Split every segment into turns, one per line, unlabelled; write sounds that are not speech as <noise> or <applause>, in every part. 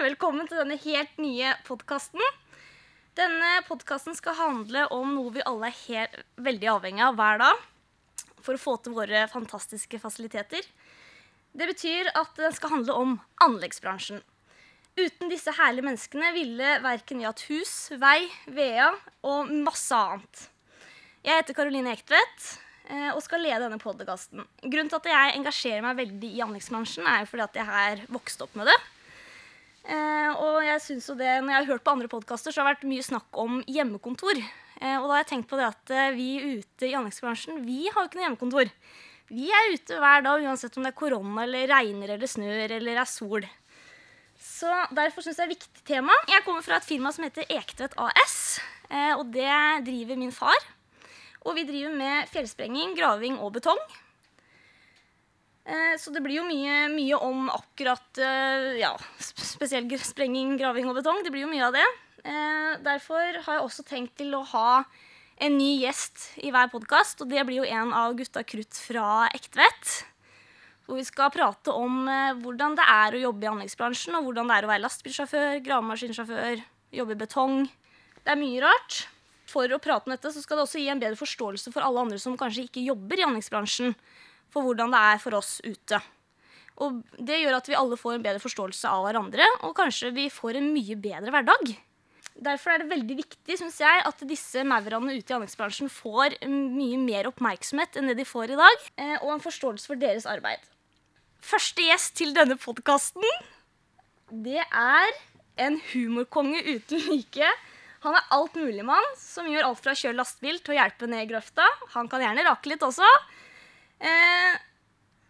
velkommen til denne helt nye podkasten. Denne podkasten skal handle om noe vi alle er helt, veldig avhengig av hver dag for å få til våre fantastiske fasiliteter. Det betyr at den skal handle om anleggsbransjen. Uten disse herlige menneskene ville verken jeg hatt hus, vei, vea og masse annet. Jeg heter Karoline Ektvedt eh, og skal lede denne podkasten. Grunnen til at jeg engasjerer meg veldig i anleggsbransjen, er jo fordi at jeg har vokst opp med det. Eh, og jeg synes jo det, når jeg har hørt på andre podkaster, så har det vært mye snakk om hjemmekontor. Eh, og da har jeg tenkt på det at eh, vi ute i anleggsbransjen, vi har jo ikke noe hjemmekontor. Vi er ute hver dag uansett om det er korona eller regner eller snør eller er sol. Så derfor syns jeg det er et viktig tema. Jeg kommer fra et firma som heter Ektvedt AS. eh, Og det driver min far. Og vi driver med fjellsprenging, graving og betong. Eh, Så det blir jo mye, mye om akkurat eh, ja, sp- spesielt gr- sprenging, graving og betong. Det blir jo mye av det. Eh, Derfor har jeg også tenkt til å ha en ny gjest i hver podkast, og det blir jo en av gutta krutt fra Ektvedt. Hvor vi skal prate om eh, hvordan det er å jobbe i anleggsbransjen, og hvordan det er å være lastebilsjåfør, gravemaskinsjåfør, jobbe i betong. Det er mye rart. For å prate om dette så skal det også gi en bedre forståelse for alle andre som kanskje ikke jobber i anleggsbransjen, for hvordan det er for oss ute. Og det gjør at vi alle får en bedre forståelse av hverandre, og kanskje vi får en mye bedre hverdag. Derfor er det veldig viktig synes jeg, at disse maurene ute i anleggsbransjen får mye mer oppmerksomhet enn det de får i dag, eh, og en forståelse for deres arbeid. Første gjest til denne podkasten, det er en humorkonge uten like. Han er altmuligmann, som gjør alt fra å kjøre lastebil til å hjelpe ned i grøfta. Han kan gjerne rake litt også. Eh,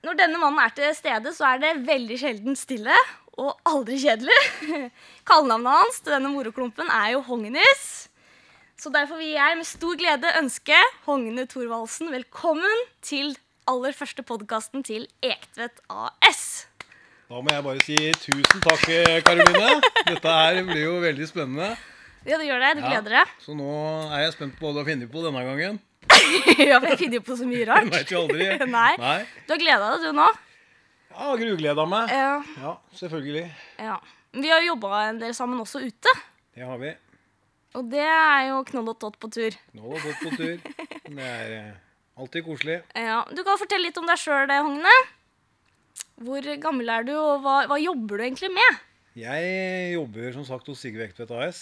når denne mannen er til stede, så er det veldig sjelden stille og aldri kjedelig. <laughs> Kallenavnet hans til denne moroklumpen er jo Hognis. Så derfor vil jeg med stor glede ønske Hogne Thorvaldsen velkommen til aller første podkasten til Ektvedt AS.
Da må jeg bare si tusen takk, eh, Karoline. Dette her blir jo veldig spennende.
Ja, det gjør det. Du
Ja,
gleder deg. <laughs>
Så nå er jeg spent på hva du har funnet på denne gangen.
ja, for jeg finner jo på så mye
<laughs> Jeg
rart.
vet jo aldri.
<laughs> Nei.
Nei.
Du har gleda deg, du nå.
Jeg har grugleda meg.
Ja.
Ja, selvfølgelig.
ja. Vi har jo jobba en del sammen også ute.
Det har vi.
Og det er jo knoll og tott på tur.
Nå har vi gått på tur. Det er eh, alltid koselig.
Ja, Du kan fortelle litt om deg sjøl, Hogne. Hvor gammel er du, og hva, hva jobber du egentlig med?
Jeg jobber som sagt hos Sigve Ektvedt AS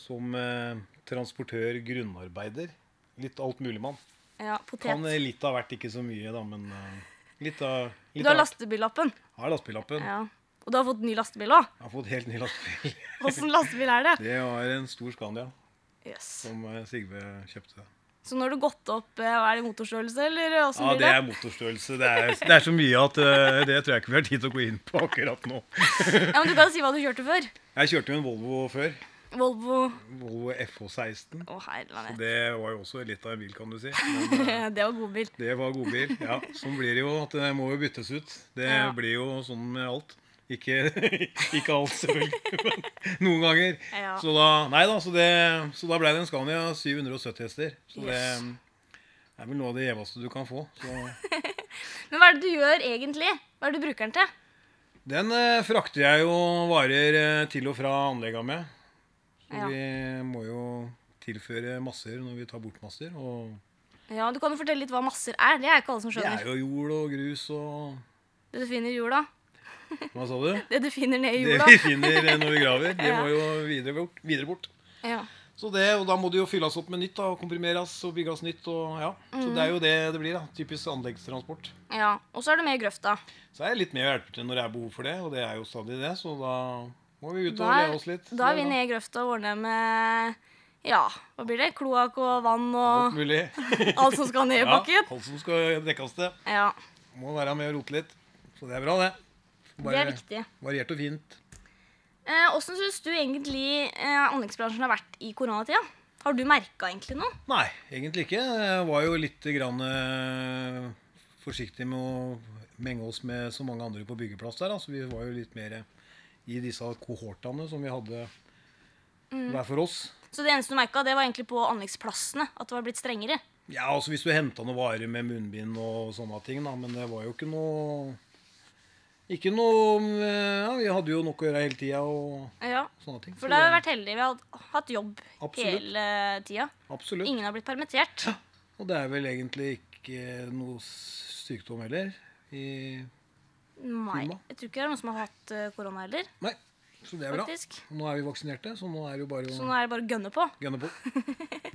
som eh, transportør grunnarbeider. Litt altmuligmann.
Ja, potet.
Kan eh, litt av hvert, ikke så mye, da, men eh, litt av,
Du
litt
har
av hvert.
lastebillappen.
Har lastebillappen.
Ja. Og du har fått ny lastebil òg.
Jeg har fått helt ny lastebil.
Åssen lastebil er
<laughs>
det?
Det var en stor Scandia
Yes.
som eh, Sigve kjøpte.
Så nå har du gått opp eh, hva Er det motorstørrelse, eller åssen
Ja,
blir
det
det?
er motorstørrelse. Det er, det er så mye at eh, det tror jeg ikke vi har tid til å gå inn på akkurat nå.
Ja, men Du kan jo si hva du kjørte før.
Jeg kjørte jo en Volvo før.
Volvo
Volvo FH16.
Å, herregud.
Det var jo også litt av en bil, kan du si. Men eh,
<laughs> Det var godbil.
det var godbil. Ja, sånn blir det jo. at Det må jo byttes ut. Det
Ja.
blir jo sånn med alt. Ikke, <laughs> ikke alt, selvfølgelig, men noen ganger.
Ja.
Så da, nei da, så det, så da ble det en Scania 770 hester. Så det
Yes.
er vel noe av det gjeveste du kan få. Så
Men hva er det du gjør egentlig? Hva er det du bruker den til?
Den eh, frakter jeg jo varer eh, til og fra anlegga med. Så
Ja.
vi må jo tilføre masser når vi tar bort masser. Og
Ja, Du kan jo fortelle litt hva masser er. Det er ikke alle som
det er
skjønner.
jo jord og grus og
Det du finner i jorda.
Hva sa
<laughs>
du?
Det du finner ned i
Det
jorda.
vi finner eh, når vi graver, det
Ja.
må jo videre bort. Videre bort.
Ja.
Så det, og da må det jo fylles opp med nytt da, og komprimeres og bygges nytt. og ja. Så det
Mm.
er jo det det blir. da, Typisk anleggstransport.
ja. Og så er du med i grøfta.
Så er jeg litt med og hjelper til når det er behov for det, og det er jo stadig det. Så da må vi ut og
Da er,
leve oss litt.
da er vi
Ja,
ned i grøfta og ordner med ja, hva blir det? kloakk og vann og
Alt mulig.
alt som skal ned i
<laughs> Ja,
bakken.
alt som skal dekkes til.
Ja,
Må være med og rote litt. Så det er bra, det.
Det er viktig.
Variert og fint.
Eh, Åssen syns du egentlig eh, anleggsbransjen har vært i koronatida? Har du merka egentlig noe?
Nei, egentlig ikke. Jeg var jo litt grann, eh, forsiktig med å menge oss med så mange andre på byggeplass der. da. Så vi var jo litt mer eh, i disse kohortene som vi hadde
Mm.
hver for oss.
Så det eneste du merka, det var egentlig på anleggsplassene. At det var blitt strengere.
Ja, altså hvis du henta noen varer med munnbind og sånne ting, da. Men det var jo ikke noe Ikke noe eh, ja, Vi hadde jo nok å gjøre hele tida og
Ja,
sånne ting.
For
så
da har vi vært heldige. Vi har hatt jobb
Absolutt.
hele tida.
Absolutt.
Ingen har blitt permittert.
Og det er vel egentlig ikke noe s- sykdom heller. I
Nei,
Firma.
jeg tror ikke det er noen som har hatt eh, korona heller,
Nei, så det er bra.
faktisk.
Nå er vi vaksinerte, så nå er det jo bare
Så
å
nå er det bare å gønne på.
gønne
<laughs>
på.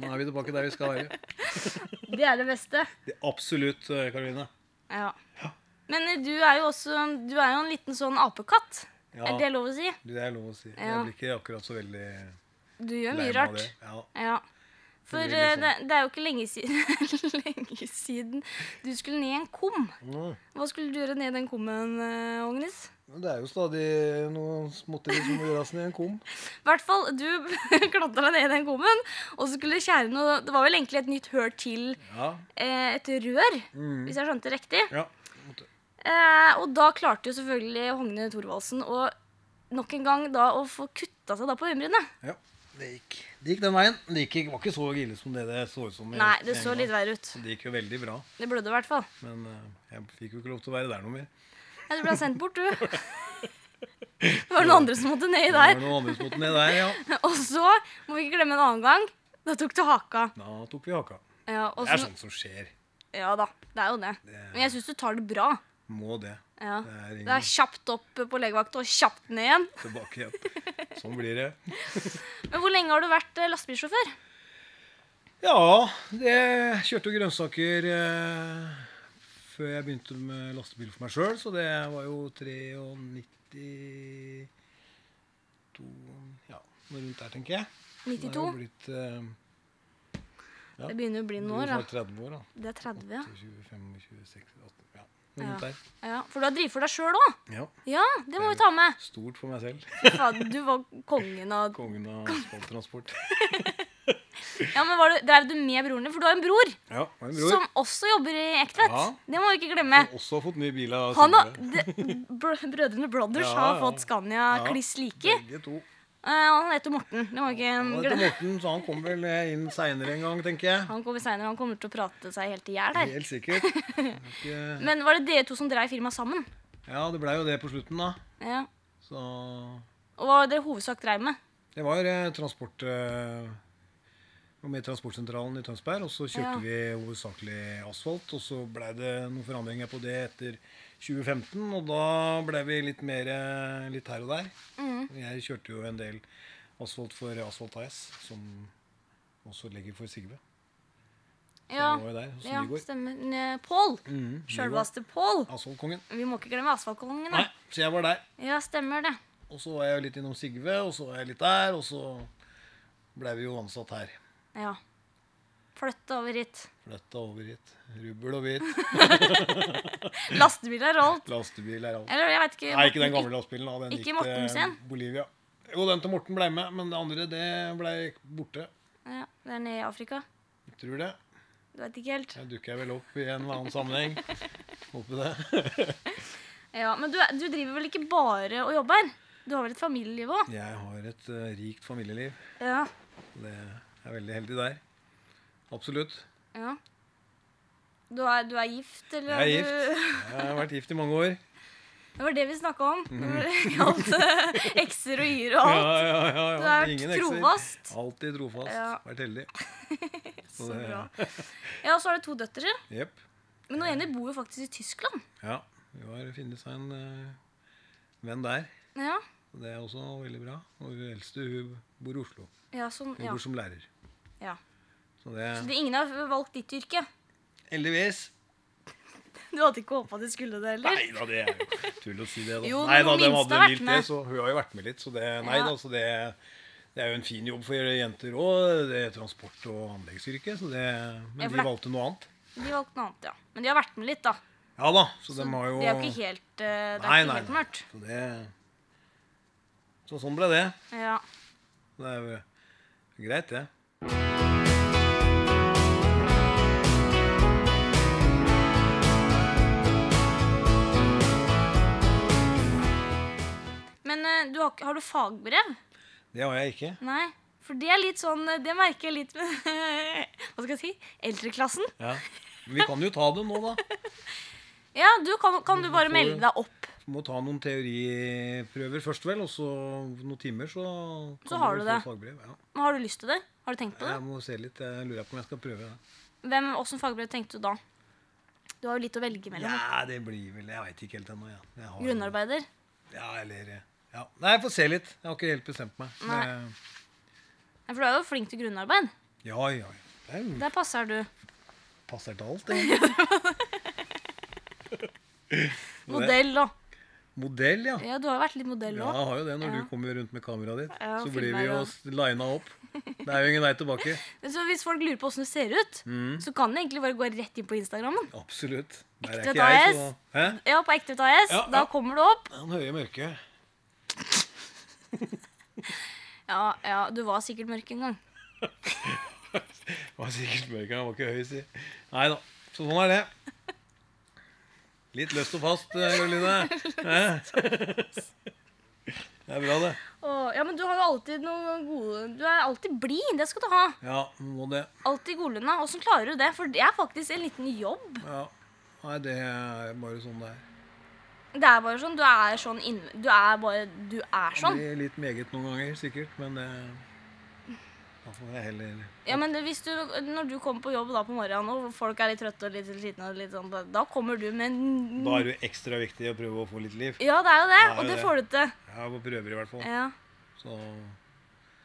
Nå er vi tilbake der vi skal være.
Det er det beste.
Det er absolutt, eh, Karoline.
Ja. Men eh, du er jo også Du er jo en liten sånn apekatt.
Ja.
Er det lov å si?
Det er lov å si. Jeg
Ja.
blir ikke akkurat så veldig
Du gjør
lei
mye
meg av
rart.
det. Ja.
Ja. For
blir
eh,
litt
det,
sånn.
det er jo ikke lenge siden, <laughs> lenge siden du skulle ned i en kum.
Mm.
Hva skulle du gjøre ned i den kummen, eh, Agnes?
Men Det er jo stadig noen småtteri som må gjøres ned i en kom.
I hvert fall, du <laughs> klatra ned i den kummen, og så skulle skjære noe Det var vel egentlig et nytt høl til
Ja.
eh, et rør,
Mm.
hvis jeg skjønte det riktig.
ja. Måtte-
Eh, og da klarte jo selvfølgelig Hogne Thorvaldsen å nok en gang da å få kutta seg da på øyenbrynet.
ja. Det gikk. det gikk den veien. Det gikk, ikke- var ikke så ille som det det så ut som. i-
Nei,
i
det så
England.
litt verre ut.
Det gikk jo veldig bra.
Det blødde i hvert fall.
Men eh, jeg fikk jo ikke lov til å være der noe mer.
Ja, du ble sendt <laughs> bort, du. Det var noen andre som måtte nedi der.
Det var noen andre som måtte ned der, ja.
<laughs> Og så må vi ikke glemme en annen gang. Da tok du haka.
Da tok vi haka.
Ja, og
Det er
så,
sånn. sånt som skjer.
ja da, det er jo det.
Det-
Men jeg syns du tar det bra.
Må det.
Ja.
Det er
Det
ingen
er kjapt opp på legevakta og kjapt ned igjen.
tilbake igjen. Sånn blir det.
Men hvor lenge har du vært eh, lastebilsjåfør?
Ja, det kjørte jo grønnsaker eh, før jeg begynte med lastebil for meg sjøl, så det var jo 93 Ja, noe rundt der, tenker jeg. Da er jeg
92?
jo blitt eh, ja.
Det begynner å bli noen år,
snart
da.
30 år, da.
Det er 30, ja.
25, 26, 18 Ja, noe
Ja.
rundt der.
ja. For du har drevet for deg sjøl òg?
Ja.
Ja, det må vi ta
<laughs>
med.
Stort for meg selv.
Fy faen, Du var kongen av
Kongen av spalttransport.
Ja, men var du, Drev du med broren din? For du har en bror,
Ja, og en bror.
som eh, også jobber i Ektvedt.
Ja.
Det må vi ikke glemme.
Som også har fått mye bil av
Han har,
Sindre.
de, br- brødrene Brothers
Ja,
har
ja.
fått Scania
Ja.
kliss like.
Begge to.
Eh, og han heter Morten. Det må vi ikke
Han heter
glemme.
Morten, så han kommer vel eh, inn seinere en gang, tenker jeg.
Han kommer senere, han kommer til å prate seg helt i hjel her.
Helt sikkert.
<laughs>
Jeg vet ikke-
Men var det dere to som drev firmaet sammen?
Ja, det blei jo det på slutten, da.
Ja.
Så
Og hva var det dere hovedsak drev med?
Det var eh, transport eh, var med i transportsentralen i Tønsberg, og så
Ja.
kjørte vi hovedsakelig asfalt. Og så blei det noen forandringer på det etter 2015, og da blei vi litt mer eh, litt her og der. Jeg kjørte jo en del asfalt for Asfalt AS, som også ligger for Sigve. Så
Ja,
jeg var jo der hos
ja
Nygård.
stemmer. Ne- Pål.
Mm, Nygård.
Sjølveste Pål.
Asfaltkongen.
Vi må ikke glemme Asfaltkongen.
Nei,
da.
så jeg var der.
Ja, stemmer det.
Og så var jeg jo litt innom Sigve, og så var jeg litt der, og så blei vi jo ansatt her.
Ja. Flytte over hit.
Flytta over hit. Rubbel og bit.
Lastebiler og alt.
Lastebil er
<laughs>
alt.
Eller jeg vet ikke.
Nei, ikke den
Morten-
gamle lastebilen. da. Den
ikke
gikk
Morten
til
sin?
Bolivia. Jo, den til Morten blei med, men det andre det blei borte.
Ja, det er nede i Afrika.
Jeg tror det.
Du vet ikke helt.
Jeg dukker vel opp i en eller annen sammenheng.
<laughs>
Håper det.
Ja, Men du, er- du driver vel ikke bare og jobber? Du har vel et familieliv òg?
Jeg har et eh, rikt familieliv.
Ja.
Det er veldig heldig der. Absolutt.
ja. Du, er, du er gift, eller?
Jeg er
du- <laughs>
gift. Jeg har vært gift i mange år.
Det var det vi snakka om. når det gjaldt
<laughs>
eh, ekser og yr og
Mhm.
<laughs>
Ja,
alt.
ja, ja, ja.
Du har
Ingen
vært
ekser.
trofast.
Alltid trofast.
Ja.
Vært heldig.
Så
det-
bra. Ja, og så har du to døtre.
Jepp.
Men noen ene bor jo faktisk i Tyskland.
Ja. Vi har funnet seg en eh, venn der.
Ja,
Og Det er også veldig bra. Og hun eldste hun bor i Oslo.
ja sånn,
Hun
ja.
bor som lærer.
ja.
Så det
Så det, ingen har valgt ditt yrke?
Heldigvis.
Du hadde ikke håpa de skulle det heller?
Nei da, det er jo tull å si det. da.
Jo,
nei da,
men
de
minst
hadde
har vært
vilt det,
med.
så hun har jo vært med litt. Så det, nei
Ja.
da, så det, det er jo en fin jobb for jenter òg. Det er transport- og anleggsyrke. Så det,
Ja,
men
for
de
det-
valgte noe annet.
De valgte noe annet, ja. Men de har vært med litt, da.
Ja da, så,
Så
de har jo
Det er jo ikke helt, eh, det er
Nei,
ikke
nei,
helt
nei.
mørkt.
Så, det, så sånn ble det.
Ja.
Det er jo greit, det.
Men eh, du har, ikke- har du fagbrev?
Det har jeg ikke.
Nei. For det er litt sånn eh, Det merker jeg litt med <laughs> Hva skal jeg si? Eldreklassen.
Ja. Men vi kan jo ta det nå, da.
Ja, du kan, kan du bare
får-
melde deg opp
Må ta noen teoriprøver først, vel, og så noen timer, så kan
Så har du
få
det.
Fagbrev. Ja.
Men har du lyst til det? Har du tenkt på det?
Jeg må se litt. Jeg lurer på om jeg skal prøve det.
Hvem, Åssen fagbrev tenkte du da? Du har jo litt å velge mellom.
Ja, det blir vel Jeg veit ikke helt ennå. Ja. Jeg har-
Grunnarbeider.
Ja, eller eh, ja. Nei, jeg får se litt. Jeg har ikke helt bestemt meg.
Nei.
Men, eh,
Ja, For du er jo flink til grunnarbeid.
ja, ja. Det er jo
Der passer du.
passer til
<laughs>
alt, det.
Modell da.
Modell, ja.
Ja, du har jo vært litt modell
Ja,
òg.
jeg har jo det. Når
Ja.
du kommer rundt med kameraet ditt,
Ja,
så
filmer
blir vi jo
og-
s- lina opp. Det er jo ingen vei tilbake.
Så hvis folk lurer på åssen du ser ut,
Mm.
så kan de egentlig bare gå rett inn på Instagrammen.
Absolutt. Der er
Ekte
ikke jeg,
AS.
så Hæ?
Ja, på Ekte ut AS.
Ja,
Da
ja.
kommer du opp.
Han høye mørke.
Ja, ja, du var sikkert mørk en gang.
Var sikkert mørk, han var ikke høy, si. Nei da. Så sånn er det. Litt løst og fast, eh,
<laughs>
Karoline. Hæ? <laughs> Det er bra, det.
Åh, ja, men du har jo alltid noen gode Du er alltid blid. Det skal du ha.
Ja, må det.
Alltid godlunna. Åssen klarer du det? For det er faktisk en liten jobb.
Ja. Nei, det er bare sånn det er.
Det er bare sånn. Du er sånn inn... Du er bare Du er
Det
sånn.
blir litt meget noen ganger, sikkert, men eh, da får jeg heller
Ja, men hvis du, Når du kommer på jobb da på morgenen, og folk er litt trøtte og litt slitne, og litt sånn, da- da kommer du med en
Da er det jo ekstra viktig å prøve å få litt liv.
Ja, det er jo det.
er jo
Og det
det.
får du til.
Ja, på prøver i hvert fall.
Ja.
Så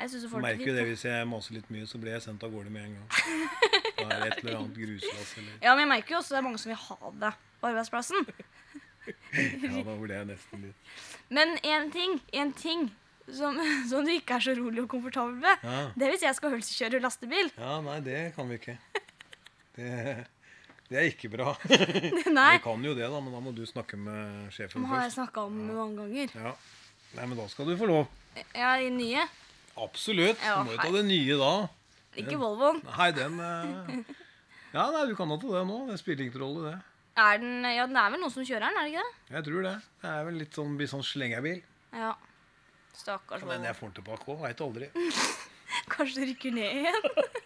Jeg synes du får det
merker
til
jo det
litt. sånn?
hvis jeg maser litt mye, så blir jeg sendt av gårde med en gang. Da er det et eller annet gruslass eller
Ja, men jeg merker jo også det er mange som vil ha det på arbeidsplassen.
Ja, da ble jeg nesten litt
Men én ting, en ting som, <laughs> som du ikke er så rolig og komfortabel med,
Ja,
det er hvis jeg skal hølsekjøre lastebil. <laughs>
ja nei, det kan vi ikke. Det, det er ikke bra.
Nei.
Vi kan jo det, da, men da må du snakke med sjefen
Det har jeg
først.
snakka om det mange ganger.
Ja. Nei, men da skal du få lov.
Ja, i nye.
Absolutt.
Ja,
Du må jo ta det nye da.
Ikke Volvoen.
Nei, den eh, Ja, nei, du kan da ta det nå. Det spiller ingen rolle, det.
Er den Ja, det er vel noen som kjører den, er det ikke det?
Jeg tror det. Det er vel litt sånn, blir sånn slengerbil.
Ja. Stakkars
Men
Volvo.
jeg får tilbake òg, veit aldri.
Kanskje det rykker ned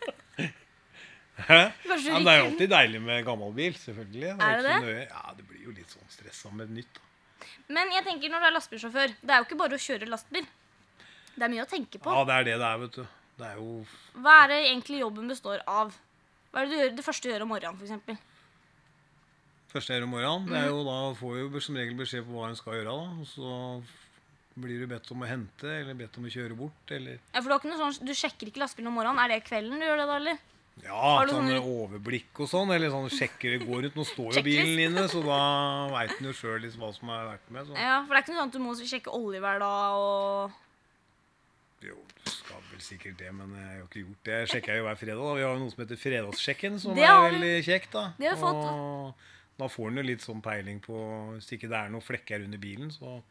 igjen.
Hæ?
Kanskje du
Ja, men det er jo
rykker
alltid deilig med gammel bil, selvfølgelig. Det
Er
jo
det
ikke så nøye. Ja, det blir jo litt sånn stressa med nytt. Da.
Men jeg tenker når du er lastebilsjåfør Det er jo ikke bare å kjøre lastebil. Det er mye å tenke på.
Ja, det er det det er, vet du. Det er jo
Hva er det egentlig jobben består av? Hva er det du gjør, det første du gjør om morgenen, for eksempel?
første her om morgenen. Det er
Mhm.
jo, da får jo som regel beskjed på hva en skal gjøre, da. Og så blir du bedt om å hente, eller bedt om å kjøre bort, eller
Ja, for du, har ikke noe sånn, du sjekker ikke lastebilen om morgenen. Er det kvelden du gjør det, da? eller?
Ja,
du
sånn
sånne-
overblikk og sånn. Eller sånn sjekker det går ut. Nå står jo bilen inne, så da veit en jo sjøl liksom hva som er verdt med. Så.
Ja, For det er ikke noe sånn at du må sjekke olje hver dag og
Jo, du skal vel sikkert det, men jeg har jo ikke gjort det. Jeg sjekker jo hver fredag. da. Vi har jo noe som heter Fredagssjekken, som
Det
er
har vi.
veldig kjekt. da.
Det har vi fått.
Og da får en jo litt sånn peiling på Hvis ikke det er noen flekker under bilen, så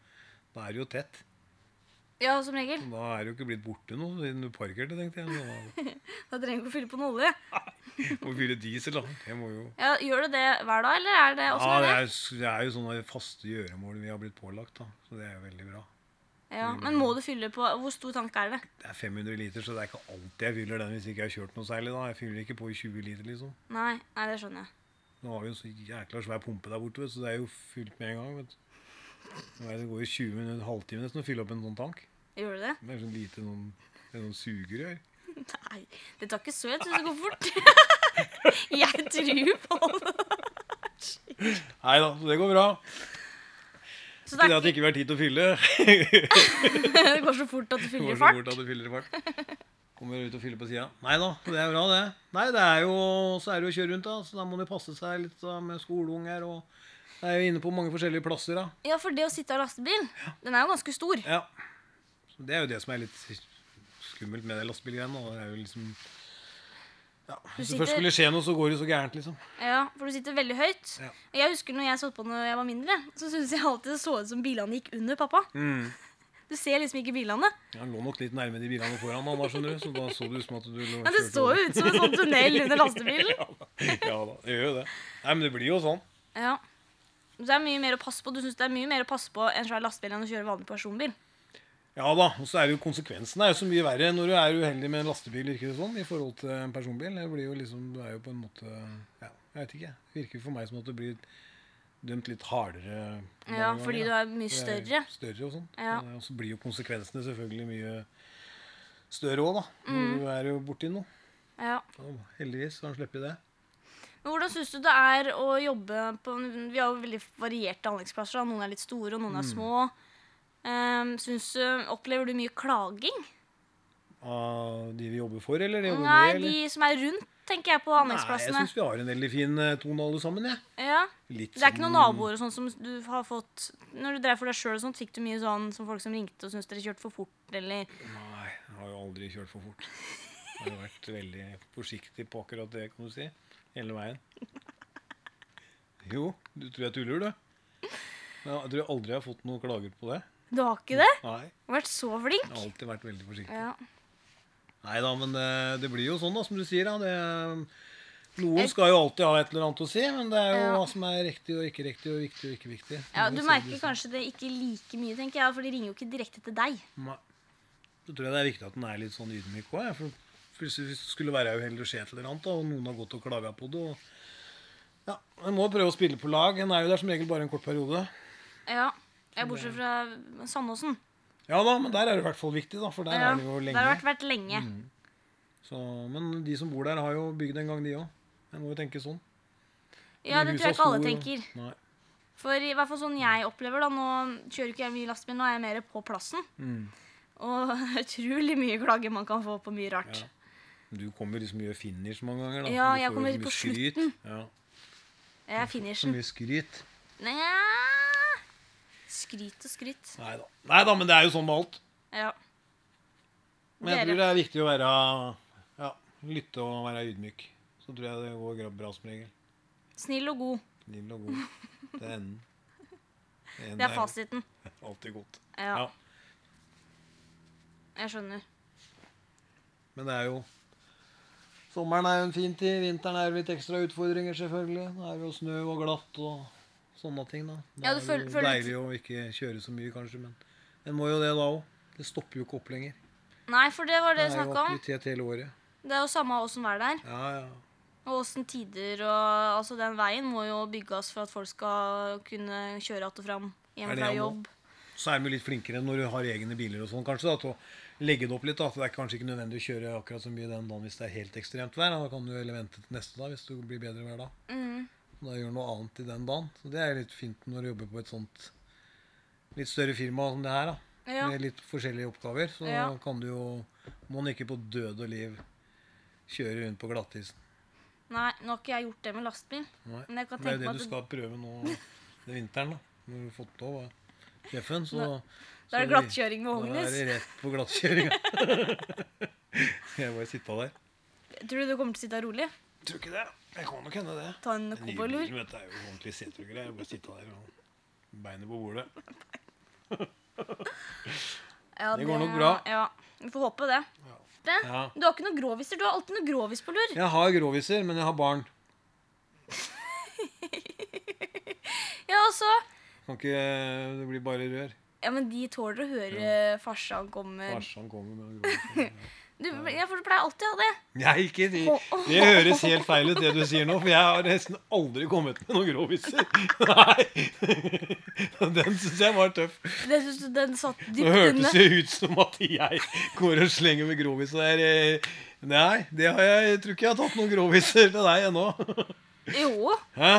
da er det jo tett.
Ja, som regel.
Da er det jo ikke blitt borte noe siden du parkerte, tenkte jeg.
Da trenger du ikke å fylle på noe olje.
Da Må fylle diesel, da. Det må jo
Ja, Gjør du det hver dag, eller er det åssen
Ja, det
er det?
er, det er jo sånne faste gjøremål vi har blitt pålagt, da. Så det er jo veldig bra.
Ja, Men må du fylle på Hvor stor tank er det?
Det er 500 liter, så det er ikke alltid jeg fyller den hvis ikke jeg har kjørt noe særlig. da. Jeg fyller ikke på i 20 liter, liksom.
Nei, nei, det skjønner jeg.
Nå har vi jo en så jækla svær pumpe der borte, vet, du, så det er jo fylt med en gang. vet du. Nå er det- Det går jo 20 minutter, en halvtime nesten å fylle opp en sånn tank.
Gjør du det?
Det er sånn lite noen, det er noen sugerør.
Nei, det tar ikke så Jeg tror det går fort.
<laughs>
jeg tror på det.
Nei da, så det går bra.
Så
Ikke
det,
det
er
at det ikke vi har tid til å
<laughs>
fylle.
ikke, det går så fort at du
Det
fyller i
går så
fart.
fort at du fyller i fart. Kommer ut og fyller på sida. Nei da, det er bra, det. Nei, det er jo, så er det jo å kjøre rundt, da. Så da må det passe seg litt da, med skoleunger og Det er jo inne på mange forskjellige plasser, da.
Ja, for det å sitte av lastebil, den er jo ganske stor.
Ja. Så det er jo det som er litt skummelt med det lastebilgreiene. da. Det er jo liksom ja, Hvis det
sitter-
først skulle skje noe, så går det jo så gærent, liksom.
Ja, for du sitter veldig høyt.
Ja.
Jeg husker når jeg satt på når jeg var mindre, så syntes jeg alltid det så ut som bilene gikk under pappa. Du ser liksom ikke bilene.
Han lå nok litt nærme de bilene foran, han da, skjønner du. Så da så det ut som at du lå
Men det
kjørte
så
over.
jo ut som en sånn tunnel
<laughs>
under lastebilen.
Ja da, <laughs> ja da, det gjør jo det. Nei, men det blir jo sånn.
Ja. Så det er mye mer å passe på. Du syns det er mye mer å passe på en svær lastebil enn å kjøre vanlig personbil.
Ja da, og så er det jo konsekvensene er jo så mye verre når du er uheldig med en lastebil virker det sånn, i forhold til en personbil. Det blir jo liksom, du er jo på en måte Ja, jeg vet ikke. Det virker for meg som at det blir dømt litt hardere. mange
Ja, fordi
ganger,
du
da.
er mye større.
Større og sånn.
Ja.
Eh, Og så blir jo konsekvensene selvfølgelig mye større òg, da.
Mm.
Når du er jo borti noe.
Ja.
Og heldigvis har han sluppet det.
Men hvordan syns du det er å jobbe på en- Vi har jo veldig varierte anleggsplasser. da. Noen er litt store, og
Mm.
noen er små. Ehm, syns, eh, opplever du mye klaging?
Av de vi jobber for, eller? De jobber
Nei,
med, eller?
de som er rundt, tenker jeg på
Nei, jeg
anleggsplassene.
syns vi har en veldig fin eh, tone alle sammen, jeg.
ja.
Litt
Det er ikke
sånn-
noen naboer og sånn som du har fått Når du drev for deg sjøl og sånt, fikk du mye sånn som folk som ringte og syntes dere kjørte for fort, eller
Mm, Nei, jeg har jo aldri kjørt for fort. Jeg har vært veldig forsiktig på akkurat det, kan du si. Hele veien. Jo, du tror jeg tuller, du. Men Jeg tror aldri jeg har fått noen klager på det.
Du har ikke det?
Nei,
Du har vært så flink.
jeg har alltid vært veldig forsiktig.
Ja.
Nei da, men det, det blir jo sånn, da, som du sier. Da. Det, um, noen skal jo alltid ha et eller annet å si, men det er jo
Ja.
hva som er riktig og ikke riktig, og viktig og ikke viktig.
Ja,
Det
Du
ser
merker
vi-
kanskje det ikke like mye, tenker jeg, for de ringer jo ikke direkte til deg.
Nei. Så tror jeg det er viktig at den er litt sånn ydmyk òg. For plutselig hvis det skulle være uheldig å skje et eller annet, da, og noen har gått og klaga på det og ja, En må prøve å spille på lag. En er jo der som regel bare en kort periode.
Ja, jeg Bortsett fra Sandåsen.
Ja da, men der er det i hvert fall viktig, da, for der
Ja,
er det jo
Der har
lenge.
vært, vært lenge.
Så, men de som bor der, har jo bygd en gang, de òg. Jeg må jo tenke sånn.
Ja,
De
det tror jeg
husa
ikke alle
sto jo-
tenker.
Nei.
For i hvert fall sånn jeg opplever da, Nå kjører ikke jeg mye lastebil, nå er jeg mer på plassen.
Mm.
Og <laughs> utrolig mye klager man kan få på mye rart.
Ja. Du kommer liksom mye finish mange ganger. da.
Ja,
Du
jeg
får jo
kommer
så mye
på
skryt.
slutten.
Ja,
Jeg er
så
finishen.
mye skryt.
Nja Skryt og skryt.
Nei da. Nei da, men det er jo sånn med alt.
Ja.
Men
Dere.
jeg tror det er viktig å være ja, lytte og være ydmyk. Så tror jeg det går gra- bra som regel.
Snill og god.
Snill og god. Det er enden. enden
Det er fasiten.
jo Alltid godt.
Ja, jeg skjønner.
Men det er jo Sommeren er jo en fin tid. Vinteren er jo litt ekstra utfordringer, selvfølgelig. Da er det jo snø og glatt og sånne ting, da. Da
Ja, du
er
føl-
det jo
føler litt-
deilig å ikke kjøre så mye, kanskje, men en må jo det da òg. Det stopper jo ikke opp lenger.
Nei, for det var
Det
det vi
er jo
snakka om.
aktivitet hele året.
Det er jo samme åssen vær det er.
Ja, ja.
Og åssen tider og Altså, den veien må jo bygges for at folk skal kunne kjøre att og fram hjem
Er det
fra
han nå?
jobb.
Så er de jo litt flinkere når du har egne biler og sånn, kanskje, da, til å legge det opp litt. da, for Det er kanskje ikke nødvendig å kjøre akkurat så mye den dagen hvis det er helt ekstremt vær. Da kan du heller vente til neste dag hvis det blir bedre hver dag.
Mm.
Da gjør du noe annet i den dagen. Så det er litt fint når du jobber på et sånt litt større firma som det her, da.
Ja.
Med litt forskjellige oppgaver. Så
Ja.
kan du jo Må man ikke på død og liv kjøre rundt på glattisen.
Nei, nå har ikke jeg gjort det med lastebil.
Nei.
Men jeg kan
Det er jo
tenke meg
det du
at det,
skal prøve nå den vinteren, da. Når du har fått lov av sjefen, så
det er
så-
glattkjøring med
Da er
Hognis.
det rett på glattkjøringa. <laughs> jeg bare sitta der.
Tror du du kommer til å sitte rolig?
Tror ikke det. Jeg kan nok hende det.
Ta en
Den nye bilen
cowboylur?
vet du, er jo ordentlig setergreier. Bare sitta der og beinet på bordet.
Ja,
Det går nok bra.
Ja, Vi får håpe det.
Ja.
det.
Ja.
Du har ikke noen groviser. Du har alltid noen grovis på lur.
Jeg har gråviser, men jeg har barn.
Ja, og så
Kan ikke, det blir bare rør.
Ja, men de tåler å høre farsan kommer.
Farsan kommer med gråviser.
Du, ja, for du pleier alltid å ha det.
Nei, ikke de. Det høres helt feil ut, det du sier nå. For jeg har nesten aldri kommet med noen gråviser. Nei. <laughs> Den syns jeg var tøff.
Det synes du den satt
Nå
dypt
hørtes
inne.
det ut som at jeg går og slenger med groviser der. eh. Nei, det har jeg, jeg tror ikke jeg har tatt noen groviser til deg ennå.
Jo.
Hæ?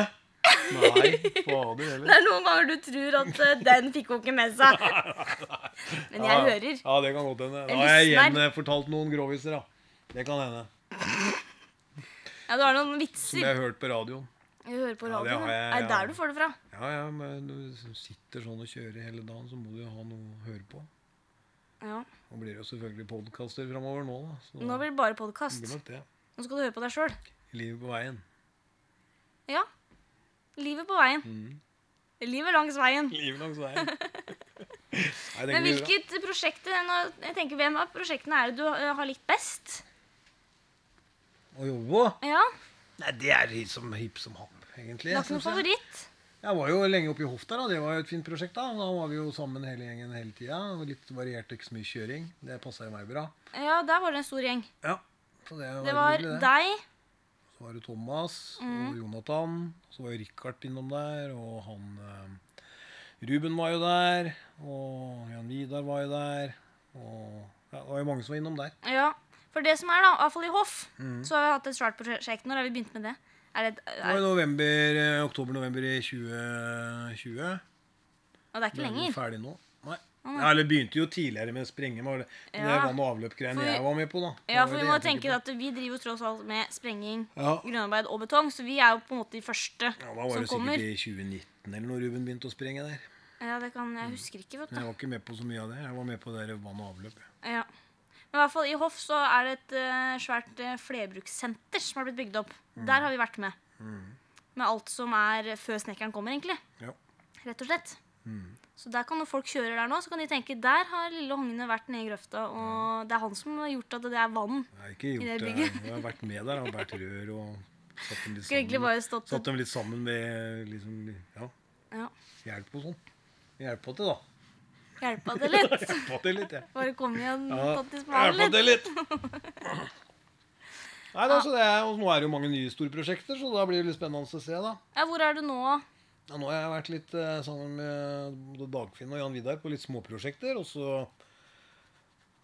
Nei, fader heller.
Det er noen ganger du tror at eh, den fikk hun ikke med
<laughs>
seg. Men jeg hører.
Ja, det kan godt hende.
Jeg
Da har jeg
lysner.
gjenfortalt noen groviser, da. Det kan hende.
Ja, du har noen
Som
vitser.
jeg har hørt på radioen.
Jeg hører på
Ja, det
radioen.
har jeg,
Er det
ja.
der du får det fra?
Ja, ja, men når du sitter sånn og kjører hele dagen, så må du jo ha noe å høre på.
Ja.
Nå blir det jo selvfølgelig podkaster framover nå, da. Så
Nå blir det bare
det
podkast.
blir nok det.
Nå skal du høre på deg sjøl.
Livet på veien.
Ja. Livet på veien.
Mhm.
Livet langs veien.
Livet langs
<laughs>
veien. Nei, det
Men
blir bra.
hvilket prosjekt eh, nå- jeg tenker, Hvem av prosjektene er det du eh, har likt best?
Å jobbe på?
Ja,
Nei, det er litt som hipp som happ, egentlig.
Du har ikke noen
synes jeg.
favoritt?
Jeg var jo lenge oppe i hofta, da. Det var jo et fint prosjekt, da. Da var vi jo sammen hele gjengen hele tida. Litt variert, ikke så mye kjøring. Det passa jo meg bra.
Ja, der var det en stor gjeng.
Ja. Så det var,
Det var
hyggelig, det.
deg,
Så var det Thomas
Mm.
og Jonathan. Så var jo Richard innom der, og han eh, Ruben var jo der. Og Jan Vidar var jo der. Og ja, det var jo mange som var innom der.
Ja, for det som er da, i hvert fall i Hoff,
Mm.
så har vi hatt et svært prosjekt. Når har vi begynt med det? Er det,
Det var
er,
i november, eh, oktober-november i 2020.
og det er ikke
Ble vi
lenger.
ferdig nå? Nei. Ja, eller begynte jo tidligere med sprenging. Men det men det
Ja.
vann- og avløp-greiene
For vi-
jeg var med på, da. Det
Ja,
var
for
jo
vi
det
må
jeg tenker
tenke
på.
at vi driver jo tross alt med sprenging,
Ja.
grønnarbeid og betong, så vi er jo på en måte de første
Ja, da var
som
det
kommer.
sikkert i 2019 eller når Ruben begynte å sprenge der.
Ja, det kan
Mm.
jeg husker ikke, vet du.
Men jeg var ikke med på så mye av det. Jeg var med på det der vann og avløp.
Ja. Men i hvert fall i Hoff så er det et eh, svært eh, flerbrukssenter som har blitt bygd opp.
Mm.
Der har vi vært med. Med alt som er eh, før snekkeren kommer, egentlig.
Ja.
Rett og slett.
Mm.
Så der kan når folk kjører der nå, så kan de tenke der har lille Hogne vært nede i grøfta, og det er han som har gjort at det er vann.
Jeg har ikke
det
gjort det.
bygget.
Jeg har vært med der. Jeg har båret rør og satt dem litt
Skulle egentlig
sammen.
bare stått
Satt dem litt sammen med liksom, ja,
ja,
hjelp og sånn. Hjelpa
<laughs>
til, da.
Hjelpa det litt.
Hjelpa til litt, jeg.
Bare kom igjen,
Ja,
tatt i spaden
hjelpa
litt. <laughs>
til litt. Nei, da, så det er, og Nå er det jo mange nye store prosjekter, så da blir det litt spennende å se. da.
Ja, hvor er du nå?
Ja, nå har jeg vært litt eh, sammen med både Dagfinn og Jan Vidar på litt småprosjekter. Og så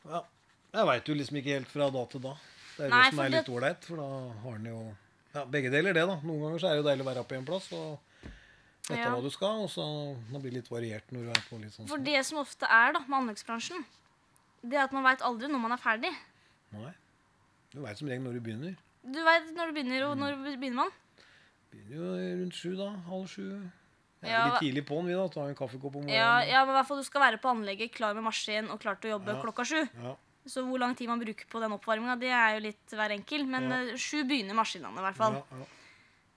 Ja. Jeg veit jo liksom ikke helt fra da til da. Det er
Nei,
det som
for
er
det-
litt ålreit, for da har en jo ja, begge deler det, da. Noen ganger så er det jo deilig å være på én plass og vite
Ja.
hva du skal. Og så da blir det litt variert når du er på litt sånn
For det som ofte er da, med anleggsbransjen, det er at man veit aldri når man er ferdig.
Nei. Du veit som regel når du begynner.
Du veit når du begynner, og når begynner man.
Begynner jo rundt sju, da. Halv sju. Vi er
Ja,
litt
hva-
tidlig på'n, vi, da. Tar en kaffekopp om
Ja,
morgenen.
ja, men i hvert fall Du skal være på anlegget, klar med maskin og klar til å jobbe
Eh, Ja.
klokka sju.
Ja.
Så hvor lang tid man bruker på den oppvarminga, det er jo litt hver enkel. Men
Ja.
eh, sju begynner maskinene, i hvert
Ja,
fall.
ja.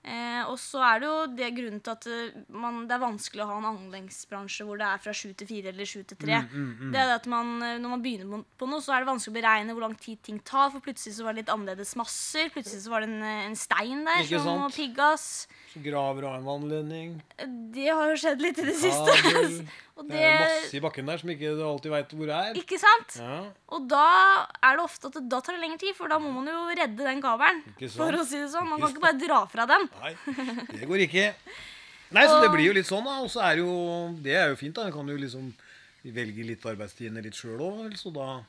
Eh, og så er det jo det grunnen til at eh, man, det er vanskelig å ha en anleggsbransje hvor det er fra sju til fire eller sju til
Mm,
tre. Det er det at man, eh, Når man begynner på- på noe, så er det vanskelig å beregne hvor lang tid ting tar. For plutselig så var det litt annerledes masser. Plutselig så var det en, eh, en stein der
Ikke
som må
sant?
piggas.
Så graver du av en vannledning.
Det har jo skjedd litt i det siste. <laughs> altså.
Kabel.
og
Det er
det
masse i bakken der som ikke du alltid veit hvor er.
Ikke sant?
Ja,
Og da er det ofte at det, da tar det lengre tid, for da må man jo redde den kabelen.
Ikke sant?
For å si det sånn. Man
Ikke
kan ikke bare dra fra den.
nei, det går ikke. Nei, så det blir jo litt sånn, da. Og så er det jo Det er jo fint, da. Du kan jo liksom velge litt arbeidstidene litt sjøl òg, så da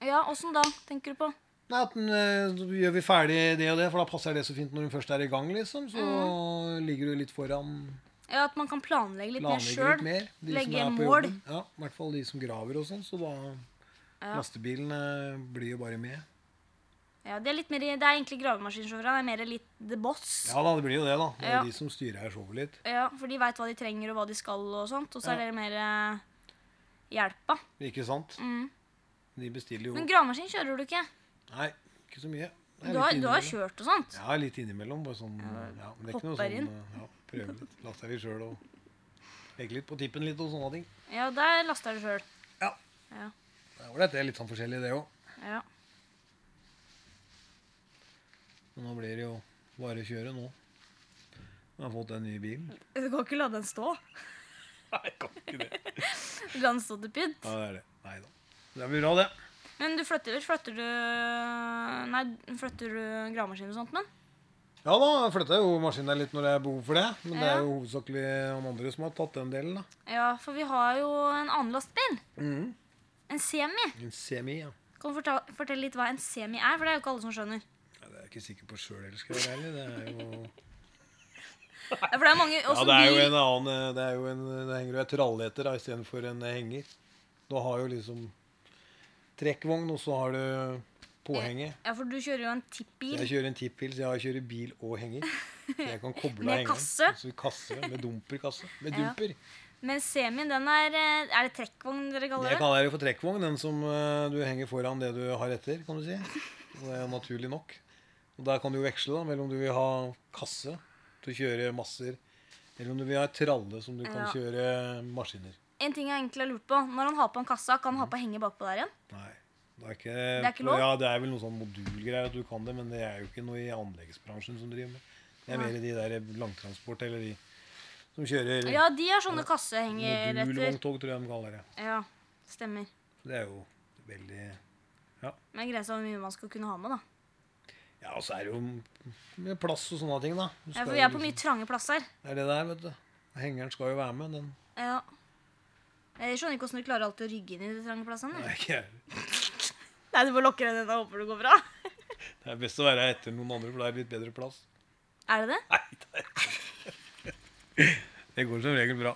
Ja, åssen da, tenker du på?
Nei, at den, eh, så gjør vi ferdig det og det, for da passer det så fint når hun først er i gang, liksom. Så ligger du litt foran,
Ja, At man kan planlegge Mm. litt mer
planlegger litt
sjøl.
mer. de som
Legge
er på
mål.
jobben. Ja, i hvert fall de som graver og sånn. Så da Lastebilene blir jo bare med.
Ja, det er litt mer, det er egentlig gravemaskinsjåførene. Det er mer litt the boss.
Ja da, det blir jo det, da. Det er
Ja.
de som styrer her showet litt.
Ja, For de veit hva de trenger, og hva de skal, og sånt. Og så
Ja.
er dere mer eh, hjelpa.
Ikke sant?
Mm.
De bestiller jo
Men gravemaskin kjører du ikke?
Nei, ikke så mye. Det er
Du har,
litt
du har
innimellom.
kjørt og sånt?
Ja, litt innimellom. Bare sånn ja, men det er ikke noe
hopper
sånn
inn.
eh, ja, Prøve litt. Laster vi sjøl og legger litt på tippen litt og sånne ting.
Ja, der laster du sjøl.
Ja.
Ja.
Det er ålreit. Det er litt sånn forskjellig, det òg.
ja.
Men nå blir det jo bare å kjøre nå. Jeg har fått den nye <laughs> bilen.
Du kan ikke la den stå.
Nei, jeg kan ikke det.
La den stå til pynt.
Ja, det er det. Nei da. Det blir bra, det.
Men du flytter vel? Flytter du Nei, flytter du gravemaskin og sånt, men?
Ja da, jeg flytta jo maskinen litt når det er behov for det. Men det
Ja.
er jo hovedsakelig han andre som har tatt den delen, da.
Ja, for vi har jo en annen lastebil.
Mhm.
En semi.
En semi, ja.
Kan du fortelle, fortelle litt hva en semi er? For det er jo ikke alle som skjønner.
ja. Det er jeg ikke sikker på sjøl heller, skal jeg være ærlig. Det er
<laughs>
jo
Ja, for det er mange
Ja,
også
det er jo
bil-
en annen eh, Det, er jo en, det henger jo et tralleter da, istedenfor en eh, henger. Du har jo liksom trekkvogn, og så har du påhenget.
Ja, for du kjører jo en tippbil.
Jeg kjører en tippbil, så jeg kjører bil og henger. Så jeg
<laughs>
kan koble
Med
av hengeren.
kasse?
Så kasse, Med dumperkasse. Med
Ja.
dumper.
Men semien, den er eh, Er det trekkvogn dere kaller
Jeg
det?
kaller det for trekkvogn, den som eh, du henger foran det du har etter, kan du si. Og Det er jo naturlig nok. Og Der kan du jo veksle da, mellom du vil ha kasse til å kjøre masser, eller om du vil ha et tralle som du kan
Ja.
kjøre maskiner.
En ting jeg egentlig har lurt på. Når han har på en kassa, kan han ha på henge bakpå der igjen?
Nei. Det er ikke,
er ikke lov?
Ja, det er vel noen sånn modulgreier at du kan det, men det er jo ikke noe i anleggsbransjen som driver med. Det er
Nei.
mer de der langtransport eller de som kjører
Ja, de har sånne kassehengeretter.
modulvogntog, tror jeg de kaller det.
Ja, stemmer.
Så Det er jo veldig
Med grensa hvor mye man skal kunne ha med, da.
Ja, og så er det jo med plass og sånne ting, da. Du
Ja,
skal
for
jo
vi er på
liksom-
mye trange plasser.
Det er det der, vet du. Hengeren skal jo være med. Den
Ja. Jeg skjønner ikke hvordan du klarer alltid å rygge inn i de trange plassene.
er ikke jeg.
Nei, du må lokke den inn og håper det går bra.
Det er best å være etter noen andre, for det er litt bedre plass.
Er det det?
Nei, det, er- det går som regel bra.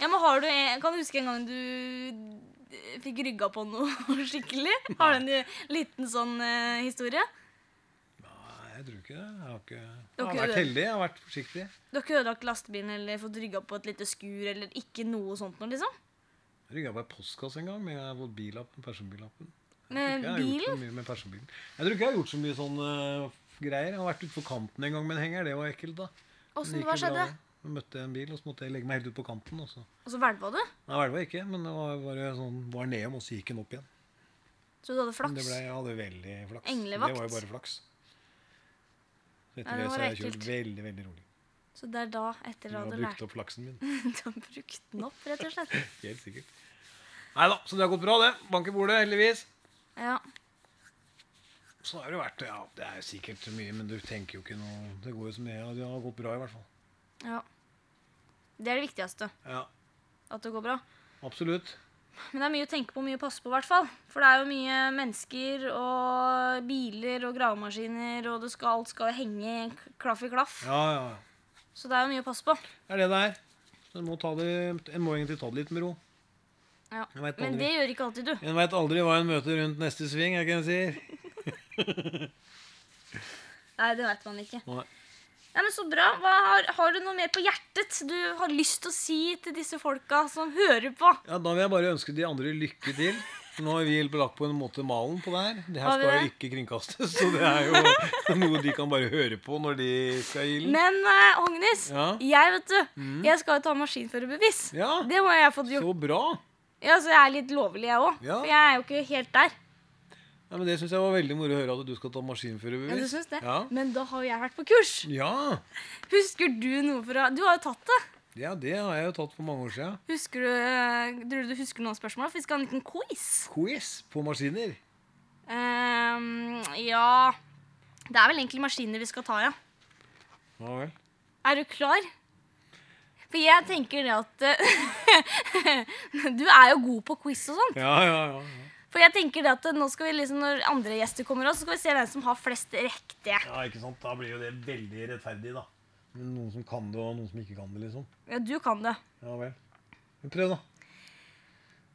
Ja, men har du en, Kan du huske en gang du eh, fikk rygga på noe <laughs> skikkelig? Har du en liten sånn eh, historie?
Nei, jeg tror ikke det. Jeg har, ikke...
Du har
jeg har
ikke
vært
det?
heldig. Jeg har vært forsiktig.
Du har ikke ødelagt lastebilen eller fått rygga på et lite skur eller ikke noe sånt noe, liksom?
Jeg rygga på en postkasse en gang, men jeg har fått billappen, personbillappen.
Med
Jeg har gjort så
bilen?
mye med personbilen. Jeg tror ikke jeg har gjort så mye sånne øh, greier. Jeg har vært utfor kanten en gang med en henger. Det var ekkelt, da. Men
Åssen
det
hva
gikk jo bra,
skjedde?
det. Jeg møtte en bil, og så måtte jeg legge meg helt ut på kanten. Og så.
Og så hvelva du?
Nei, hvelva ikke, men det var bare sånn, var nedom, og så gikk den opp igjen.
Så du hadde
Men Det
flaks?
ble, jeg hadde veldig flaks.
Englevakt.
Det var jo bare flaks. Så
Nei, det
etter
var
det, så har jeg
ekkelt.
kjørt veldig, veldig rolig.
Så det er da, etter
Jeg
at
har
du
brukt
lærte <laughs>
opp flaksen min.
Du har brukt den opp, rett og slett?
Helt sikkert. Nei da, så det har gått bra, det. Bank i bordet, heldigvis.
Ja.
Så har det jo vært Ja, det er jo sikkert mye, men du tenker jo ikke noe Det går jo som det er. og Det har gått bra, i hvert fall.
ja. Det er det viktigste.
Ja,
At det går bra.
absolutt.
Men det er mye å tenke på og mye å passe på, i hvert fall. For det er jo mye mennesker og biler og gravemaskiner, og det skal, alt skal jo henge k- klaff i klaff.
Ja, ja. ja.
Så det er jo mye å passe på.
Det er det det er. Så en må, ta det, en må egentlig ta det litt med ro.
Ja.
Jeg vet
Men
aldri.
det gjør ikke alltid du.
En veit aldri hva en møter rundt neste sving, er ikke det en sier?
Nei, det vet man ikke.
Nei.
Nei, men Så bra. Hva har, har du noe mer på hjertet du har lyst til å si til disse folka som hører på?
Ja, Da vil jeg bare ønske de andre lykke til. For nå har vi lagt på en måte malen på det her. Det her
Har vi
skal jo
det?
ikke kringkastes, så det er jo noe de kan bare høre på når de skal gi ilden.
Men eh, Agnes,
Mm. Ja. Mm.
jeg vet du, jeg skal jo ta maskinførerbevis.
Ja.
Det må jeg få gjort.
Så bra!
Ja, Så jeg er litt lovlig, jeg òg.
Ja.
For jeg er jo ikke helt der.
Ja, men Det syns jeg var veldig moro å høre at du skal ta
Ja, du
maskinførerbevis.
syns det?
Ja.
Men da har jo jeg vært på kurs.
Ja.
Husker du noe fra Du har jo tatt det.
ja, det har jeg jo tatt for mange år siden.
Husker du, eh, tror du du husker noen spørsmål? For vi skal ha en liten quiz.
Quiz på maskiner.
Ehm, ja Det er vel egentlig maskiner vi skal ta, ja.
Ja vel.
Er du klar? For jeg tenker det at eh, <laughs> Du er jo god på quiz og sånn.
Ja, ja, ja. ja.
For jeg tenker det at eh, nå skal vi liksom, når andre gjester kommer også, så skal vi se hvem som har flest riktige.
Ja, ikke sant? Da blir jo det veldig rettferdig, da. Men noen som kan det, og noen som ikke kan det, liksom.
Ja, du kan det. <laughs>
Ja vel. Men prøv, da.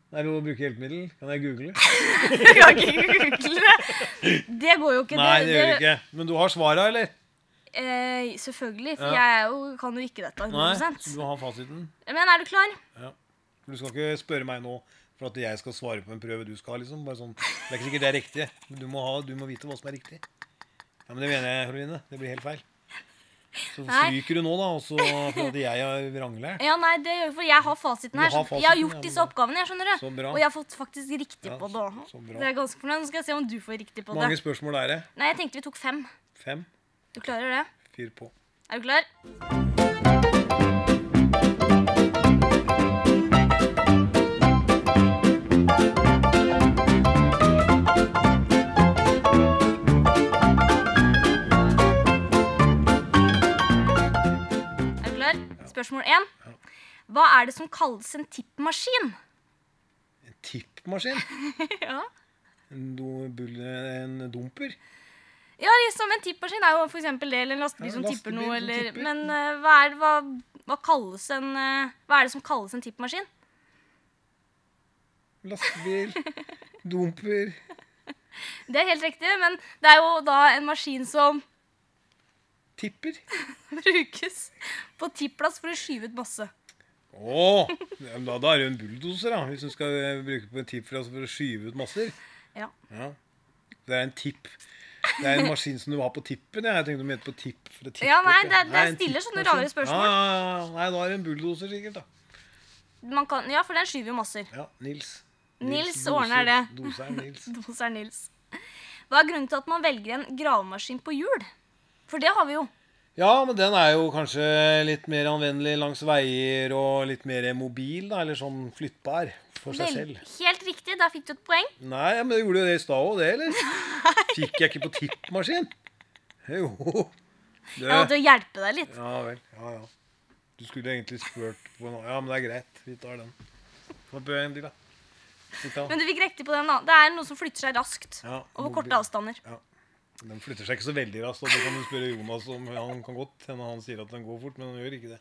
Det er lov å bruke hjelpemiddel. Kan jeg google?
Du kan ikke google det. Det går jo ikke.
Nei, det gjør det ikke. Men du har svara, eller?
Eh, selvfølgelig, for
Ja.
jeg er jo, kan jo ikke dette. 100%.
Du har fasiten.
Men er du klar?
Ja. Du skal ikke spørre meg nå for at jeg skal svare på en prøve du skal ha, liksom. Bare sånn. Det er ikke sikkert det er riktig. Men du må, ha, du må vite hva som er riktig. Ja, Men det mener jeg, Karoline. Det blir helt feil. Så
Nei.
stryker du nå, da, og så for at jeg har <laughs> vranglært.
Ja, nei, det gjør for jeg har fasiten
Du
her.
har
skjønner- jeg har
fasiten,
gjort
ja,
disse
men-
oppgavene, jeg skjønner det.
Så bra.
Og jeg har fått faktisk riktig
Ja,
på det òg.
så bra.
Det er jeg ganske fornøyd. Nå skal jeg se om du får riktig på
Mange
det.
spørsmål er det.
Nei, jeg tenkte vi tok fem.
Fem.
Du klarer det?
Fyr på.
Er du klar? Er du klar? Spørsmål én. Hva er det som kalles en tippmaskin?
En tippmaskin.
Ja.
En, do, bull, en dumper.
Ja, liksom En tippmaskin er jo for eksempel det, eller en lastebil
Ja,
som tipper
lastebil
noe.
som
Eller,
tipper.
Men eh, hva, er, hva, hva, kalles en, eh, hva er det som kalles en tippmaskin?
Lastebil. Dumper.
Det er helt riktig, men det er jo da en maskin som <laughs>
Tipper.
brukes på tippplass for å skyve ut masse.
Åh, ja, men da, da er det jo en bulldoser, da. Hvis du skal eh, bruke på en tipp for, altså, for å skyve ut masser.
Ja.
Ja. Det er en tipp. Det er en maskin som du har på tippen. ja. Jeg tenkte du mente på tipp. For å tippe
Ja, nei,
opp,
det- det
Nei, en
stiller sånne
tippmaskin.
rare spørsmål.
sånn- Ja, ja, ja. Nei, da er det en bulldoser sikkert, da.
Man kan, ja, for den skyver jo masser. <laughs>
Ja, Nils.
Nils
doser.
ordner det.
Doseren Nils.
Doser Nils. Hva er grunnen til at man velger en gravemaskin på hjul? For det har vi jo.
Ja, men den er jo kanskje litt mer anvendelig langs veier og litt mer mobil, da, eller sånn flyttbar. for seg
Vel-
selv.
Helt riktig, der fikk du et poeng.
Nei, men jeg gjorde jo det i stad òg, det, eller? Fikk jeg ikke på tippmaskin? Jo. Du.
Jeg måtte hjelpe deg litt.
Ja vel. Ja, ja. Du skulle egentlig spurt på noe. Ja, men det er greit. Vi tar den. Få prøve en til, da. Sitt da.
Men du fikk riktig på den. da. Det er noe som flytter seg raskt
Ja,
over
mobil.
korte avstander.
Ja. Den flytter seg ikke så veldig raskt. og Det kan du spørre Jonas om. Han kan godt hende han sier at den går fort, men den gjør ikke det.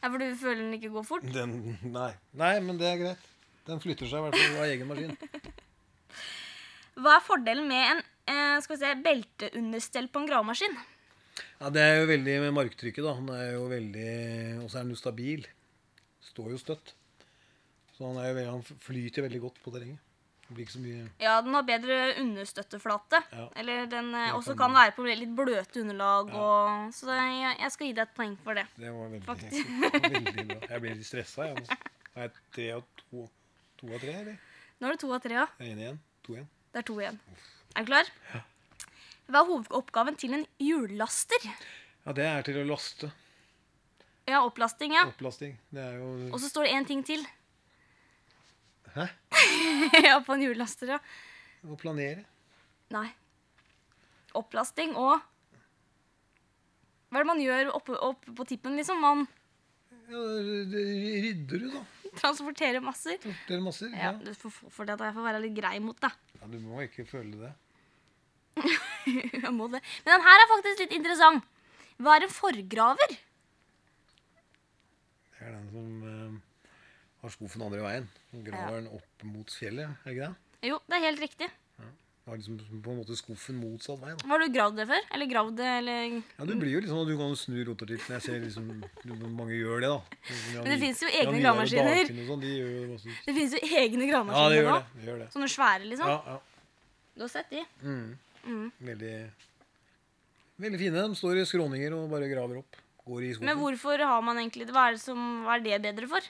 Ja, for du føler den ikke går fort.
Den, nei. nei, men det er greit. Den flytter seg i hvert fall av egen maskin.
Hva er fordelen med en eh, skal vi se, belteunderstell på en gravemaskin?
Ja, Det er jo veldig med marktrykket, da. Han er jo veldig Og så er han jo stabil. Står jo støtt. Så han, er jo veldig, han flyter veldig godt på terrenget. Det blir ikke så mye
Ja, den har bedre understøtteflate.
Ja.
Eller den eh,
Den
også
kan-
kan være på litt bløte underlag. Og, så jeg, jeg skal gi deg et poeng for det.
Det var veldig,
Faktisk.
<laughs> veldig bra. Jeg blir litt stressa, jeg. nå. Er det tre og to, to av tre, eller?
Nå er det to av tre, ja.
Er det en igjen? To igjen?
Det er to igjen. Er du klar? Hva er hovedoppgaven til en hjullaster?
Ja, det er til å laste.
Ja, opplasting, ja.
Opplasting. Det er jo
Og så står det én ting til. <laughs>
Hæ?
ja, på en hjullaster, ja.
Å planere.
Nei. Opplasting og Hva er det man gjør oppe, oppe på tippen, liksom? Man
Ja, det rydder du, da.
transporterer masser.
Sorterer masser.
Ja,
Ja.
du får få for deg at jeg får være litt grei mot deg.
ja, du må ikke føle det.
<laughs> Jeg må det. Men den her er faktisk litt interessant. Hva er en forgraver?
Det er den som eh, har skuffen andre veien. og Graver den opp mot fjellet, er det ikke det?
Jo, det er helt riktig.
Du har liksom på en måte skuffen motsatt vei. da.
Har du gravd det før? Eller gravd det, eller
Ja, Du blir jo liksom, du kan jo snu rotortippen. Jeg ser liksom, du- mange gjør det, da.
Men det finnes jo
Ja,
egne
Vidar og
gravemaskiner.
Dagfinn og sånn, De gjør jo det masse.
Det finnes jo egne
Ja, det
gravemaskiner
gjør
nå.
det. det, gjør det.
Sånne svære, liksom.
Ja, Mhm. ja. Mm.
Du har sett de? Mm.
Veldig, veldig fine. De står i skråninger og bare graver opp. Går i
Men
skogen.
hvorfor har man egentlig det? Hva er det, som, hva er det bedre for?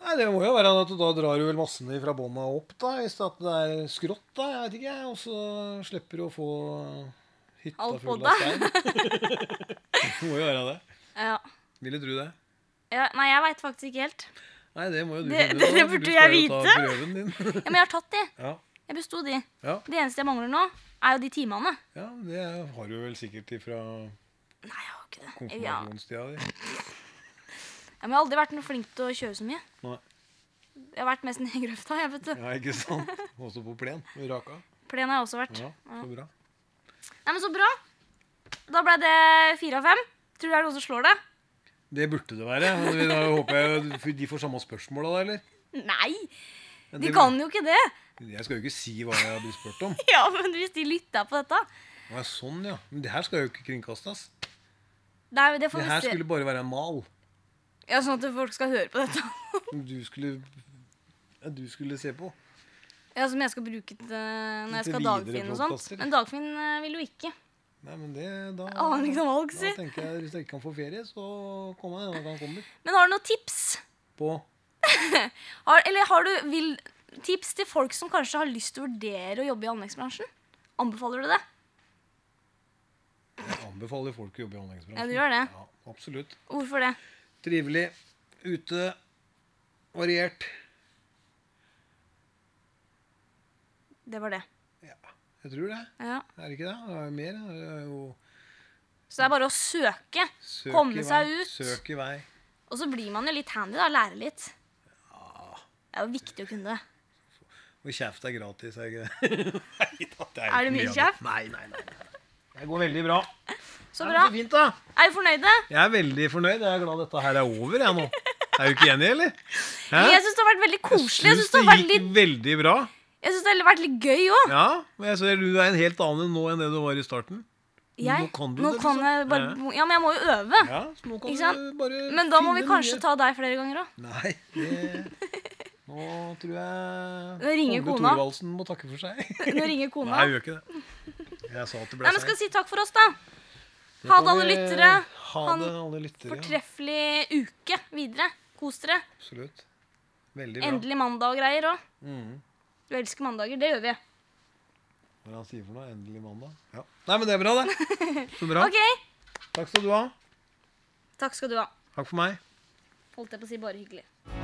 Nei, det må jo være at du da drar du vel massene fra bånda opp, da, hvis det at det er skrått. da, jeg vet ikke, jeg, Og så slipper du å få hytta
Alt
full
podda.
av stein. <laughs> det må jo være det.
Ja.
Ville tro det.
ja nei, jeg veit faktisk ikke
<laughs>
helt.
Nei, det må jo du
Det-
finne
det
ut av, for
burde
du
jeg
skal jo
vite.
Ta prøven din. <laughs>
Ja, men jeg har tatt de.
ja,
Jeg besto de.
ja,
Det eneste jeg mangler nå, er jo de timene.
ja, det har du vel sikkert ifra
Nei, jeg har ikke det. Ja.
konfirmasjonstida di.
Ja, men jeg har aldri vært noe flink til å kjøre så mye.
Nei,
Jeg har vært mest nede i grøfta. jeg vet du.
ja, ikke sant? Også på plen. med Raka.
Plen har jeg også vært.
Ja, så bra.
Nei, men Så bra. Da ble det fire av fem. Tror du det er noen som slår det?
Det burde det være. men Da håper jeg de får samme spørsmål av deg, eller?
Nei!
Men
De
det-
kan jo ikke det. <laughs>
Jeg skal jo ikke si hva jeg blir spurt om.
Ja, men hvis de lytta på dette
Å, ja, sånn, ja. Men det her skal jo ikke kringkastes.
Nei, det får
Det
vi
her
se.
skulle bare være en mal.
Ja, Sånn at folk skal høre på dette. <laughs>
Som du skulle ja, du skulle se på.
Ja, Som jeg skal bruke til, når jeg
Til
skal
videre
Dagfinn og sånt.
podcaster.
Men Dagfinn eh, vil jo ikke.
Nei, men det da,
Aner ikke noe valg, si.
da tenker jeg hvis jeg ikke kan få ferie, så kommer jeg når han kommer.
Men har du noen tips?
På
Har, eller har du vil, tips til folk som kanskje har lyst til å vurdere å jobbe i anleggsbransjen? Anbefaler du det?
Jeg anbefaler folk å jobbe i anleggsbransjen.
Ja, du gjør det.
Ja, absolutt.
Hvorfor det?
Trivelig. Ute. Variert.
Det var det.
Ja, jeg tror det.
Ja.
Er det ikke det? Det er jo mer. Det er jo
Så det er bare å søke.
søk
Komme
i vei.
seg ut.
Søk i vei.
Og så blir man jo litt handy, da. Lære litt. Det er jo viktig å kunne det.
Og kjeft er gratis, er det ikke det? <laughs> Nei da, det
Er det mye
ikke av
kjeft?
Nei, nei, nei. nei. Det går veldig bra.
Så
Det er
bra.
så fint, da.
Er vi fornøyde?
Jeg er veldig fornøyd. Jeg er glad dette her er over, jeg nå. Er du ikke enig, eller? Hæ?
Jeg syns det har vært veldig koselig. Jeg syns det,
Synes
har vært
gikk
litt-
veldig bra.
jeg synes det har vært litt gøy òg.
Ja, men jeg ser du er en helt annen nå enn det du var i starten.
Jeg,
Nå kan du
nå
det,
kan
liksom.
jeg bare,
Ja.
ja, men jeg må jo øve.
Ja, så nå kan
Ikke sant?
du bare
Men da må vi
finne
kanskje
nye-
ta deg flere ganger
<laughs>
òg.
Nei, det Nå tror jeg
Da ringer
Ole
kona.
Thorvaldsen må takke for seg.
Nå ringer
Nei,
kona.
jeg gjør ikke det. Jeg sa at
Nei,
det ble
men skal
seint.
vi si takk for oss, da. Ha det, alle lyttere.
Ha
Ha en
det, alle lyttere. ja.
Fortreffelig uke videre. Kos dere.
Absolutt. Veldig bra.
Endelig mandag og greier òg.
Mhm.
Du elsker mandager. Det gjør vi.
Hva er det han sier for noe? Endelig mandag? Ja. Nei, men det er bra, det. Så bra.
<laughs> OK.
Takk skal du ha.
Takk skal du ha.
Takk for meg.
Holdt jeg på å si bare hyggelig.